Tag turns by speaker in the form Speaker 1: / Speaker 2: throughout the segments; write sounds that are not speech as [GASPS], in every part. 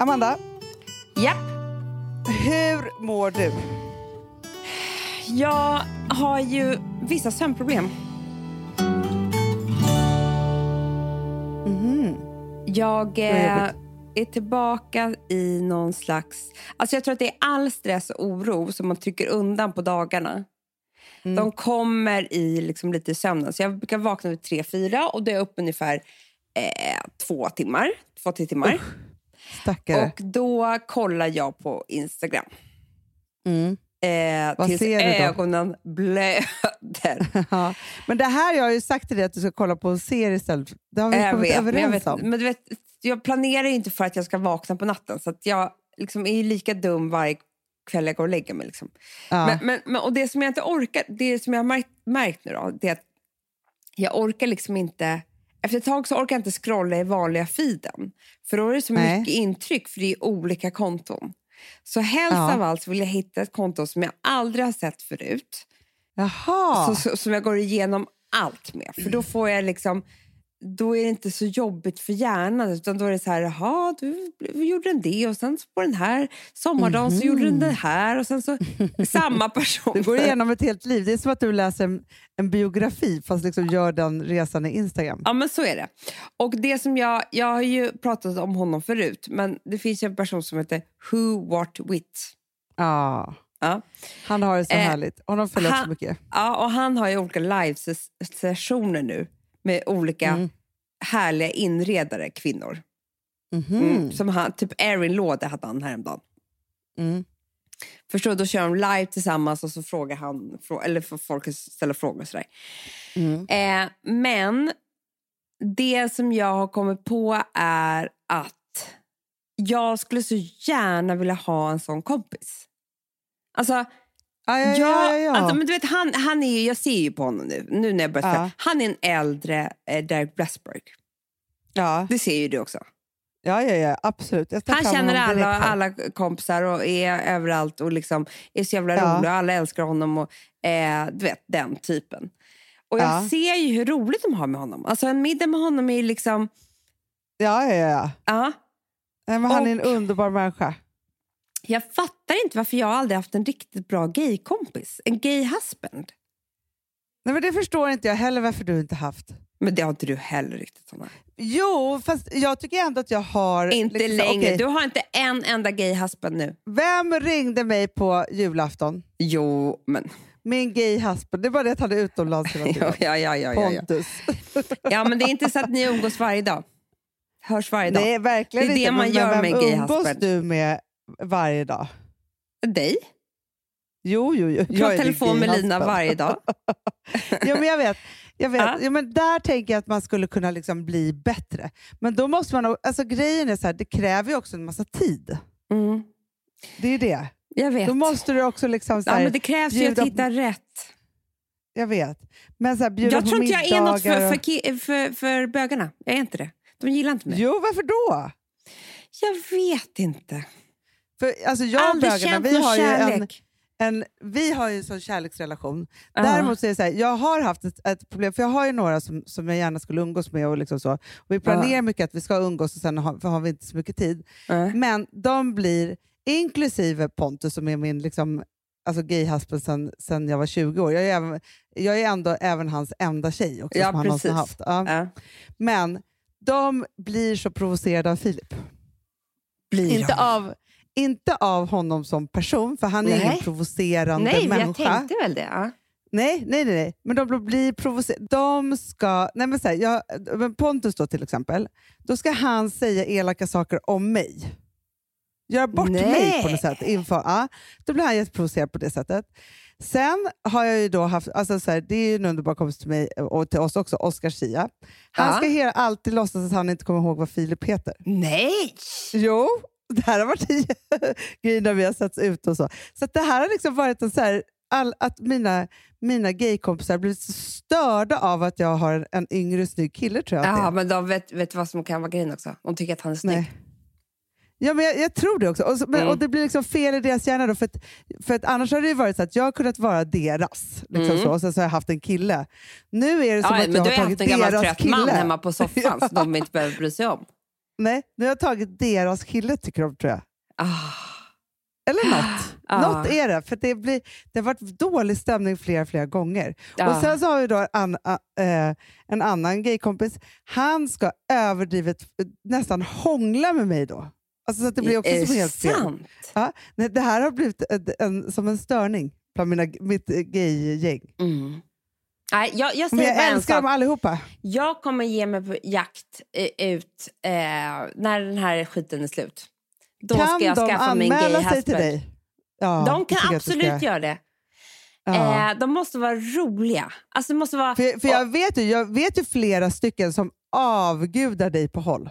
Speaker 1: Amanda,
Speaker 2: Japp.
Speaker 1: hur mår du?
Speaker 2: Jag har ju vissa sömnproblem. Mhm. Jag eh,
Speaker 1: jobbigt.
Speaker 2: är tillbaka i någon slags... Alltså jag tror att det är all stress och oro som man trycker undan på dagarna. De kommer i liksom lite i sömnen. Så jag brukar vakna vid tre, fyra och då är jag uppe ungefär eh, två timmar. Två, tre timmar.
Speaker 1: Stackare.
Speaker 2: Och då kollar jag på Instagram.
Speaker 1: Mm.
Speaker 2: Eh,
Speaker 1: Vad
Speaker 2: tills
Speaker 1: ser du då?
Speaker 2: ögonen
Speaker 1: [LAUGHS]
Speaker 2: blöder.
Speaker 1: Ja. Men det här jag har ju sagt till dig att du ska kolla på en serie istället. Det har vi
Speaker 2: Jag
Speaker 1: kommit
Speaker 2: vet, men jag
Speaker 1: överens
Speaker 2: vet,
Speaker 1: om.
Speaker 2: men du vet, jag planerar ju inte för att jag ska vakna på natten. Så att jag liksom är ju lika dum varje kväll jag går och lägger mig. Liksom.
Speaker 1: Ja.
Speaker 2: Men, men, men, och det som jag inte orkar, det som jag har märkt, märkt nu då, det är att jag orkar liksom inte... Efter ett tag så orkar jag inte scrolla i vanliga feeden. För då är det så
Speaker 1: Nej.
Speaker 2: mycket intryck, för det är olika konton. Så helst
Speaker 1: Ja.
Speaker 2: av allt så vill jag hitta ett konto som jag aldrig har sett förut
Speaker 1: Jaha.
Speaker 2: så, så, som jag går igenom allt med. För då får jag liksom, då är det inte så jobbigt för hjärnan. Utan då är det så här, jaha, du gjorde den det och sen så på den här sommardagen så gjorde den det här och
Speaker 1: [LAUGHS]
Speaker 2: sen så samma person.
Speaker 1: du Mhm. går igenom ett helt liv. Det är som att du läser en, en biografi fast liksom gör den resan i Instagram.
Speaker 2: Ja, men så är det. Och det som jag, jag har ju pratat om honom förut, men det finns ju en person som heter Who What Wit.
Speaker 1: Ja.
Speaker 2: Ja.
Speaker 1: Han har det så
Speaker 2: Eh,
Speaker 1: härligt. Honom följer jag så
Speaker 2: han-
Speaker 1: mycket.
Speaker 2: Ja, och han har ju olika live-sessioner nu med olika
Speaker 1: Mm.
Speaker 2: härliga inredare, kvinnor.
Speaker 1: Mhm.
Speaker 2: Mm. Som han, typ Erin Låde hade han häromdagen.
Speaker 1: Mm.
Speaker 2: Förstår du? Då kör de live tillsammans och så frågar han, frå- eller får folk ställa frågor och sådär.
Speaker 1: Mm.
Speaker 2: Eh, men det som jag har kommit på är att jag skulle så gärna vilja ha en sån kompis. Alltså,
Speaker 1: Ja, ja, ja,
Speaker 2: jag,
Speaker 1: Eh, ja, ja.
Speaker 2: Alltså, men du vet, han, han är, ju- jag ser ju på honom nu, nu när jag börjat
Speaker 1: Ja.
Speaker 2: följa. Han är en äldre eh, Derek Blessberg.
Speaker 1: ja.
Speaker 2: Det ser ju du också.
Speaker 1: ja, ja, ja. Absolut. Jag tar
Speaker 2: Han
Speaker 1: fram
Speaker 2: känner
Speaker 1: honom direkt
Speaker 2: alla,
Speaker 1: här.
Speaker 2: alla kompisar och är överallt och liksom är så jävla
Speaker 1: Ja.
Speaker 2: rolig och alla älskar honom. Och, eh, du vet, den typen. Och jag
Speaker 1: Ja.
Speaker 2: ser ju hur roligt de har med honom. Alltså en middag med honom är ju liksom...
Speaker 1: Ja, ja, ja.
Speaker 2: Ja,
Speaker 1: Nej, men han är en
Speaker 2: Och-
Speaker 1: underbar människa.
Speaker 2: jag fattar inte varför jag aldrig haft en riktigt bra gaykompis. En gay husband.
Speaker 1: Nej, men det förstår inte jag heller varför du inte haft.
Speaker 2: Men det har inte du heller riktigt, Hanna.
Speaker 1: Jo, fast jag tycker ändå att jag har...
Speaker 2: Inte
Speaker 1: liksom-
Speaker 2: längre.
Speaker 1: okej.
Speaker 2: Du har inte en enda gay husband nu.
Speaker 1: Vem ringde mig på julafton?
Speaker 2: Jo, men...
Speaker 1: Min gay husband. Det var det att han är utomlands hela tiden.
Speaker 2: [LAUGHS] Ja, ja, ja, ja, ja, ja.
Speaker 1: Pontus.
Speaker 2: ja, men det är inte så att ni umgås varje dag. Hörs varje dag.
Speaker 1: Nej, verkligen
Speaker 2: Det är det
Speaker 1: inte.
Speaker 2: man
Speaker 1: men,
Speaker 2: gör
Speaker 1: men
Speaker 2: med
Speaker 1: vem
Speaker 2: en gay
Speaker 1: umgås
Speaker 2: husband.
Speaker 1: du med varje dag?
Speaker 2: Dig?
Speaker 1: Jo, jo, jo.
Speaker 2: Jag
Speaker 1: är
Speaker 2: pratar
Speaker 1: din
Speaker 2: telefon med
Speaker 1: gay
Speaker 2: Lina
Speaker 1: husband.
Speaker 2: varje dag.
Speaker 1: Jo, men jag vet. Jag vet.
Speaker 2: Ja.
Speaker 1: Jo, men där tänker jag att man skulle kunna liksom bli bättre. Men då måste man... nog- Alltså, grejen är så här, det kräver ju också en massa tid.
Speaker 2: Mm,
Speaker 1: Det är det.
Speaker 2: jag vet.
Speaker 1: Då måste du också liksom... Så
Speaker 2: ja,
Speaker 1: här,
Speaker 2: men det krävs ju att
Speaker 1: bjuda-
Speaker 2: hitta rätt.
Speaker 1: Jag vet. Men så här, bjuda
Speaker 2: Jag
Speaker 1: på
Speaker 2: tror inte jag är något
Speaker 1: middagar
Speaker 2: för,
Speaker 1: och-
Speaker 2: för, ki- för, för bögarna. Jag är inte det. De gillar inte mig.
Speaker 1: Jo, varför då?
Speaker 2: Jag vet inte.
Speaker 1: För, alltså, jag och
Speaker 2: Aldrig
Speaker 1: bögarna,
Speaker 2: känt
Speaker 1: vi
Speaker 2: någon
Speaker 1: har, ju en,
Speaker 2: kärlek.
Speaker 1: en, vi har ju en sån kärleksrelation.
Speaker 2: Ja.
Speaker 1: Däremot så är det så här, jag har haft ett, ett problem, för jag har ju några som, som jag gärna skulle umgås med. Och liksom så. Och vi planerar mycket att vi ska umgås och sen har, för har vi inte så mycket tid.
Speaker 2: Ja.
Speaker 1: Men de blir, inklusive Pontus som är min liksom, alltså gay husband sen, sen jag var 20 år. Jag är, även, jag är ändå även hans enda tjej också,
Speaker 2: Ja,
Speaker 1: som han någonsin har
Speaker 2: precis.
Speaker 1: haft. Ja.
Speaker 2: Ja.
Speaker 1: Men de blir så provocerade av Filip.
Speaker 2: Blir
Speaker 1: Inte
Speaker 2: de?
Speaker 1: av, inte av honom som person, för han är
Speaker 2: Nej.
Speaker 1: ingen provocerande
Speaker 2: Nej, men jag
Speaker 1: människa.
Speaker 2: tänkte väl det. Ja.
Speaker 1: Nej, nej, nej, nej. Men de blir provocerade. De ska... Nej, men så här, jag, men Pontus då till exempel, då ska han säga elaka saker om mig. Göra bort
Speaker 2: Nej.
Speaker 1: mig på något sätt. Inför, ja, då blir han jätteprovocerad på det sättet. Sen har jag ju då haft, alltså så här, det är ju en underbar kompis till mig och till oss också, Oscar Schia. Han
Speaker 2: Ja.
Speaker 1: ska hela, alltid låtsas att han inte kommer ihåg vad Filip heter.
Speaker 2: Nej!
Speaker 1: Jo, det här har varit en [LAUGHS] grej när vi har satts ut och så. Så att det här har liksom varit en så här, all, att mina, mina gaykompisar har blivit så störda av att jag har en, en yngre snygg kille tror jag att det
Speaker 2: Ja,
Speaker 1: är.
Speaker 2: men de vet, vet vad som kan vara grejen också. De tycker att han är snygg.
Speaker 1: Nej. Ja, men jag, jag tror det också. Och, så, men,
Speaker 2: Mm.
Speaker 1: och Det blir liksom fel i deras hjärna då. För, att, för att annars har det ju varit så att jag har kunnat vara deras. Liksom
Speaker 2: Mm.
Speaker 1: så, och sen så har jag haft en kille. Nu är det som
Speaker 2: Ja,
Speaker 1: att
Speaker 2: men
Speaker 1: jag
Speaker 2: du
Speaker 1: har
Speaker 2: har haft
Speaker 1: tagit
Speaker 2: en gammal
Speaker 1: deras
Speaker 2: trött man
Speaker 1: kille. [LAUGHS]
Speaker 2: hemma på soffan som de inte behöver bry sig om.
Speaker 1: Nej, nu har jag tagit deras kille tycker de tror jag.
Speaker 2: Ah.
Speaker 1: Eller något.
Speaker 2: Ja.
Speaker 1: Något är det. För det, blir, det har varit dålig stämning flera, flera gånger.
Speaker 2: Ja.
Speaker 1: Och Sen så har vi då an, a, eh, en annan gaykompis. Han ska överdrivet eh, nästan hångla med mig då. Alltså så att det blir också
Speaker 2: är
Speaker 1: som helt fel.
Speaker 2: sant?
Speaker 1: Ja, nej, det här har blivit en, en, som en störning bland mina, mitt eh, gaygäng.
Speaker 2: Mm. Nej, jag, jag
Speaker 1: Men
Speaker 2: säger bara
Speaker 1: jag
Speaker 2: en
Speaker 1: älskar
Speaker 2: sak.
Speaker 1: dem allihopa.
Speaker 2: Jag kommer ge mig på jakt eh, ut eh, när den här skiten är slut. Då
Speaker 1: kan
Speaker 2: ska jag
Speaker 1: de
Speaker 2: skaffa mig en
Speaker 1: anmäla
Speaker 2: gay
Speaker 1: sig till
Speaker 2: husband.
Speaker 1: dig? Ja,
Speaker 2: De
Speaker 1: det tycker jag
Speaker 2: kan
Speaker 1: att du ska
Speaker 2: absolut
Speaker 1: göra.
Speaker 2: göra det.
Speaker 1: Ja.
Speaker 2: Eh, de måste vara roliga. Alltså, det måste vara...
Speaker 1: För, för jag, vet ju, jag vet ju flera stycken som avgudar dig på håll.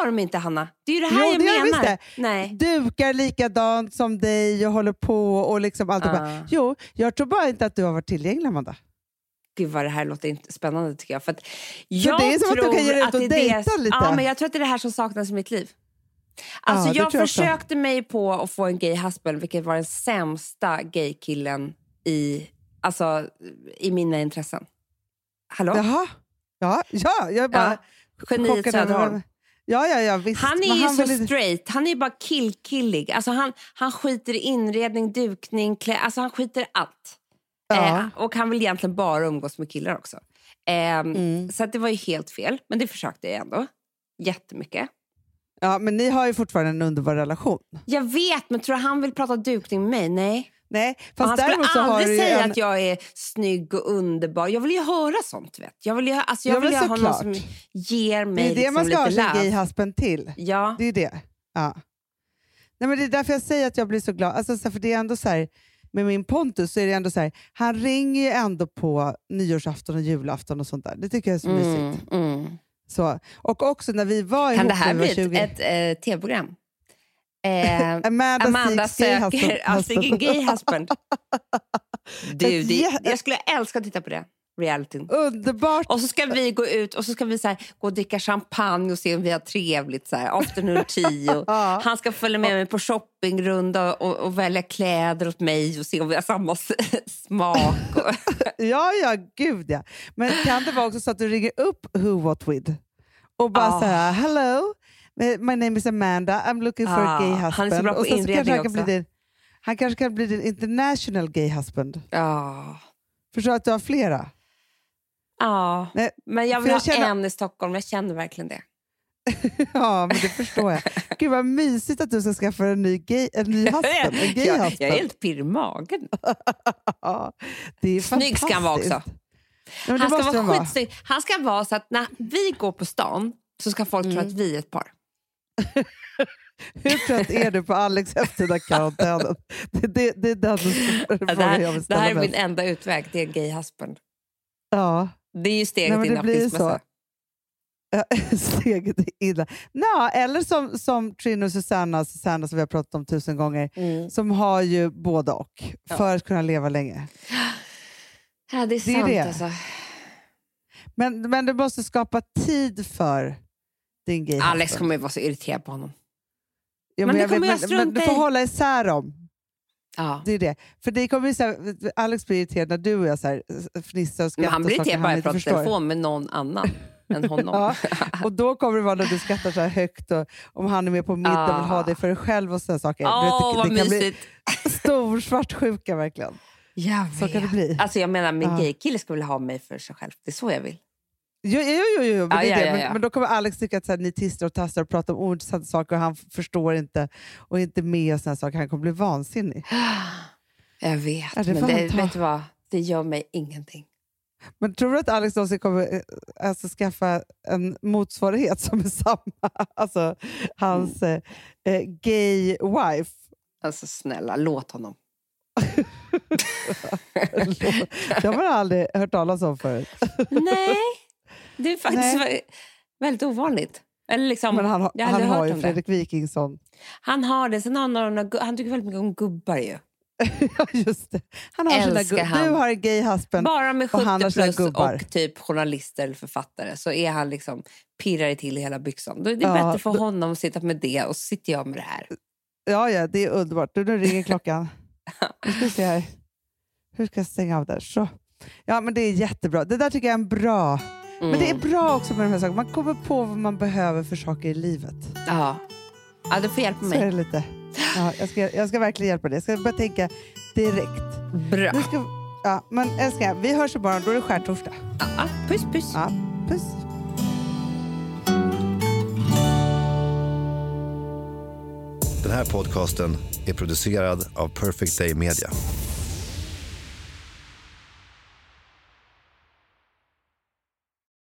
Speaker 2: gör de inte, Hanna. Det är ju det här
Speaker 1: Jo,
Speaker 2: jag
Speaker 1: det gör de
Speaker 2: menar.
Speaker 1: visst
Speaker 2: Nej.
Speaker 1: Dukar likadant som dig och håller på och liksom allt. Uh.
Speaker 2: Ah.
Speaker 1: Jo, jag tror bara inte att du har varit tillgänglig, Amanda.
Speaker 2: Gud vad det här låter inte spännande tycker jag. För att
Speaker 1: det
Speaker 2: jag
Speaker 1: är som att du
Speaker 2: tror
Speaker 1: kan ge dig ut och
Speaker 2: det är det-
Speaker 1: dejta lite.
Speaker 2: Ja, men jag tror att det är det här som saknas i mitt liv.
Speaker 1: Ja,
Speaker 2: Alltså
Speaker 1: det
Speaker 2: jag
Speaker 1: tror jag också.
Speaker 2: försökte mig på att få en gay husband, vilket var den sämsta gaykillen i, alltså, i mina intressen. Hallå?
Speaker 1: Jaha. Ja, ja, jag är bara
Speaker 2: Geniet
Speaker 1: chockad över
Speaker 2: Söderholm.
Speaker 1: vem- Ja, ja, ja, visst.
Speaker 2: Han är
Speaker 1: Men
Speaker 2: ju så
Speaker 1: var lite-
Speaker 2: straight. Han är ju bara killkillig. Alltså han, han skiter i inredning, dukning, klä... Alltså han skiter i allt.
Speaker 1: Ja.
Speaker 2: Eh, och han vill egentligen bara umgås med killar också. Eh,
Speaker 1: Mm.
Speaker 2: Så att det var ju helt fel, men det försökte jag ändå. Jättemycket.
Speaker 1: ja, men ni har ju fortfarande en underbar relation.
Speaker 2: Jag vet, men tror du han vill prata dukning med mig? Nej.
Speaker 1: Nej,
Speaker 2: Och
Speaker 1: fast
Speaker 2: han skulle
Speaker 1: däremot så har
Speaker 2: aldrig
Speaker 1: du ju
Speaker 2: säga
Speaker 1: en...
Speaker 2: att jag är snygg och underbar. Jag vill ju höra sånt. Vet. Jag vill ju, alltså, jag
Speaker 1: Ja,
Speaker 2: vill
Speaker 1: men
Speaker 2: ju ha någon som
Speaker 1: såklart.
Speaker 2: ger mig
Speaker 1: det är det
Speaker 2: liksom
Speaker 1: man ska ha
Speaker 2: lite
Speaker 1: sin
Speaker 2: love.
Speaker 1: gay husband till.
Speaker 2: Ja.
Speaker 1: Det är det. Ja. Nej, men det är därför jag säger att jag blir så glad. Alltså, så här, för det är ändå så här, med min Pontus så är det ändå så här, han ringer ju ändå på nyårsafton och julafton och sånt där. Det tycker jag är så
Speaker 2: Mm,
Speaker 1: mysigt.
Speaker 2: mm.
Speaker 1: Så. Och också när vi var
Speaker 2: Kan
Speaker 1: ihop
Speaker 2: det här
Speaker 1: när vi
Speaker 2: bli
Speaker 1: var 20.
Speaker 2: ett, ett eh,
Speaker 1: [LAUGHS]
Speaker 2: tv-program? Eh,
Speaker 1: Amanda,
Speaker 2: Amanda
Speaker 1: Siegs gay husband-
Speaker 2: söker alltså ingen gay
Speaker 1: [LAUGHS]
Speaker 2: husband. Du,
Speaker 1: Ett
Speaker 2: det,
Speaker 1: jä-
Speaker 2: jag skulle älska att titta på det. Realityn.
Speaker 1: Underbart!
Speaker 2: Och så ska vi gå ut och så ska vi så här, gå och dricka champagne och se om vi har trevligt. Så här, afternoon
Speaker 1: [LAUGHS]
Speaker 2: tea. Och
Speaker 1: Ja.
Speaker 2: han ska följa med mig på shoppingrunda och, och välja kläder åt mig och se om vi har samma s- smak. Och,
Speaker 1: [LAUGHS] Ja, ja, gud ja. Men kan det vara också så att du ringer upp Who What With och bara
Speaker 2: Ah.
Speaker 1: så här, hello, my name is Amanda, I'm looking for
Speaker 2: Ah,
Speaker 1: a gay
Speaker 2: han är så
Speaker 1: husband.
Speaker 2: bra på
Speaker 1: och sen så kanske
Speaker 2: inredning
Speaker 1: han kan
Speaker 2: också.
Speaker 1: Bli din, han kanske kan bli din international gay husband.
Speaker 2: ja.
Speaker 1: Förstår du att du har flera? [LAUGHS]
Speaker 2: ja.
Speaker 1: Nej,
Speaker 2: Men jag
Speaker 1: för
Speaker 2: vill
Speaker 1: jag
Speaker 2: ha
Speaker 1: känner-
Speaker 2: en i Stockholm. Jag känner verkligen det.
Speaker 1: ja, men det förstår jag. Gud vad mysigt att du ska skaffa en ny, gay, en
Speaker 2: [LAUGHS]
Speaker 1: ny husband. En gay
Speaker 2: jag, jag är
Speaker 1: husband.
Speaker 2: helt pirrig i magen.
Speaker 1: Ja, det är
Speaker 2: Snygg ska han vara också.
Speaker 1: fantastiskt. Ja, men det
Speaker 2: Han ska
Speaker 1: måste
Speaker 2: vara
Speaker 1: han vara.
Speaker 2: skitsnygg. Han ska vara så att när vi går på stan så ska folk
Speaker 1: Mm.
Speaker 2: tro att vi är ett par.
Speaker 1: Hur trött är du på Alex efter den här
Speaker 2: [LAUGHS]
Speaker 1: karantänen? Det, det, det är den
Speaker 2: Ja,
Speaker 1: frågan
Speaker 2: Det
Speaker 1: jag
Speaker 2: här,
Speaker 1: vill
Speaker 2: det
Speaker 1: ställa
Speaker 2: här är min
Speaker 1: mest.
Speaker 2: enda utväg. Det är en gay husband.
Speaker 1: Ja.
Speaker 2: Det är ju
Speaker 1: Nej,
Speaker 2: steget
Speaker 1: men det
Speaker 2: innan
Speaker 1: blir ju
Speaker 2: skilsmässa.
Speaker 1: [LAUGHS] steget illa. Nå, eller som, som Trin och Susanna, Susanna som vi har pratat om tusen gånger,
Speaker 2: Mm.
Speaker 1: som har ju både och
Speaker 2: Ja.
Speaker 1: för att kunna leva länge.
Speaker 2: Ja, det är
Speaker 1: Det är
Speaker 2: sant
Speaker 1: det.
Speaker 2: alltså.
Speaker 1: Men, men du måste skapa tid för din gay
Speaker 2: Alex
Speaker 1: husband.
Speaker 2: kommer ju vara så irriterad på honom.
Speaker 1: ja,
Speaker 2: men det
Speaker 1: jag
Speaker 2: kommer
Speaker 1: vet,
Speaker 2: jag strunta
Speaker 1: men du får
Speaker 2: i.
Speaker 1: hålla isär dem.
Speaker 2: Ja.
Speaker 1: Det är det. För det kommer ju så här, Alex blir irriterad när du och jag så här, fnissar och
Speaker 2: Men
Speaker 1: skrattar.
Speaker 2: han blir
Speaker 1: och saker
Speaker 2: irriterad bara jag
Speaker 1: inte
Speaker 2: pratar i
Speaker 1: förstår.
Speaker 2: telefon med någon annan än honom.
Speaker 1: [LAUGHS] Ja, och då kommer det vara när du skrattar så här högt och om han är med på middag och vill ha
Speaker 2: Ah.
Speaker 1: dig för dig själv och sådana saker.
Speaker 2: Åh,
Speaker 1: Du vet, det,
Speaker 2: vad
Speaker 1: det kan bli-
Speaker 2: mysigt.
Speaker 1: Stor svartsjuka verkligen.
Speaker 2: Jag vet.
Speaker 1: Så kan det bli.
Speaker 2: Alltså, jag menar, min
Speaker 1: Ja.
Speaker 2: gaykille ska vilja ha mig för sig själv. Det är så jag vill. [GASPS]
Speaker 1: Jo, jo, jo, jo men,
Speaker 2: Ja,
Speaker 1: det är
Speaker 2: ja,
Speaker 1: det.
Speaker 2: ja,
Speaker 1: men,
Speaker 2: ja.
Speaker 1: men då kommer Alex tycka att så här, ni tisslar och tasslar och pratar om ointressanta saker och han f- förstår inte och är inte med och sådana saker. Han kommer bli vansinnig.
Speaker 2: Jag vet,
Speaker 1: Ja, det
Speaker 2: men
Speaker 1: får
Speaker 2: det,
Speaker 1: han ta.
Speaker 2: vet du vad? Det gör mig ingenting.
Speaker 1: Men tror du att Alex någonsin kommer eh, alltså, skaffa en motsvarighet som är samma? [LAUGHS] Alltså hans
Speaker 2: Mm.
Speaker 1: eh, eh, gay
Speaker 2: [LAUGHS]
Speaker 1: wife.
Speaker 2: Alltså snälla, låt honom.
Speaker 1: Det har man aldrig hört talas om förut.
Speaker 2: Nej, det är faktiskt väldigt ovanligt. Eller liksom,
Speaker 1: Men han, har-
Speaker 2: jag har
Speaker 1: han
Speaker 2: aldrig
Speaker 1: har
Speaker 2: hört
Speaker 1: ju
Speaker 2: om det.
Speaker 1: Fredrik Wikingsson. [LAUGHS]
Speaker 2: Han har det. Sen har han, några, gu- han tycker väldigt mycket om gubbar ju.
Speaker 1: Ja, Just det. Han har sina
Speaker 2: Älskar
Speaker 1: gu-
Speaker 2: han.
Speaker 1: Du har en gay husband.
Speaker 2: Bara med
Speaker 1: och han har
Speaker 2: 70
Speaker 1: sina
Speaker 2: plus
Speaker 1: gubbar.
Speaker 2: och typ journalister eller författare så är han liksom pirrar till i hela byxan. Då är det
Speaker 1: Ja,
Speaker 2: bättre för honom att sitta med det och så sitter jag med det här.
Speaker 1: Ja, ja, det är underbart. Du, nu ringer klockan. Nu ska vi se här. Hur ska jag stänga av där? Så. Ja, men det är jättebra. Det där tycker jag är en bra Men det är bra också med de här sakerna. Man kommer på vad man behöver för saker i livet.
Speaker 2: Ja. ja, du får hjälpa
Speaker 1: Så är
Speaker 2: mig.
Speaker 1: det lite. Ja, jag, ska, jag ska verkligen hjälpa dig. Jag ska börja tänka direkt.
Speaker 2: Bra.
Speaker 1: Nu ska, ja, men älsklingar, vi hörs imorgon. Då är det skärtorsdag.
Speaker 2: Ja, puss, puss.
Speaker 1: Ja, puss.
Speaker 3: Den här podcasten är producerad av Perfect Day Media.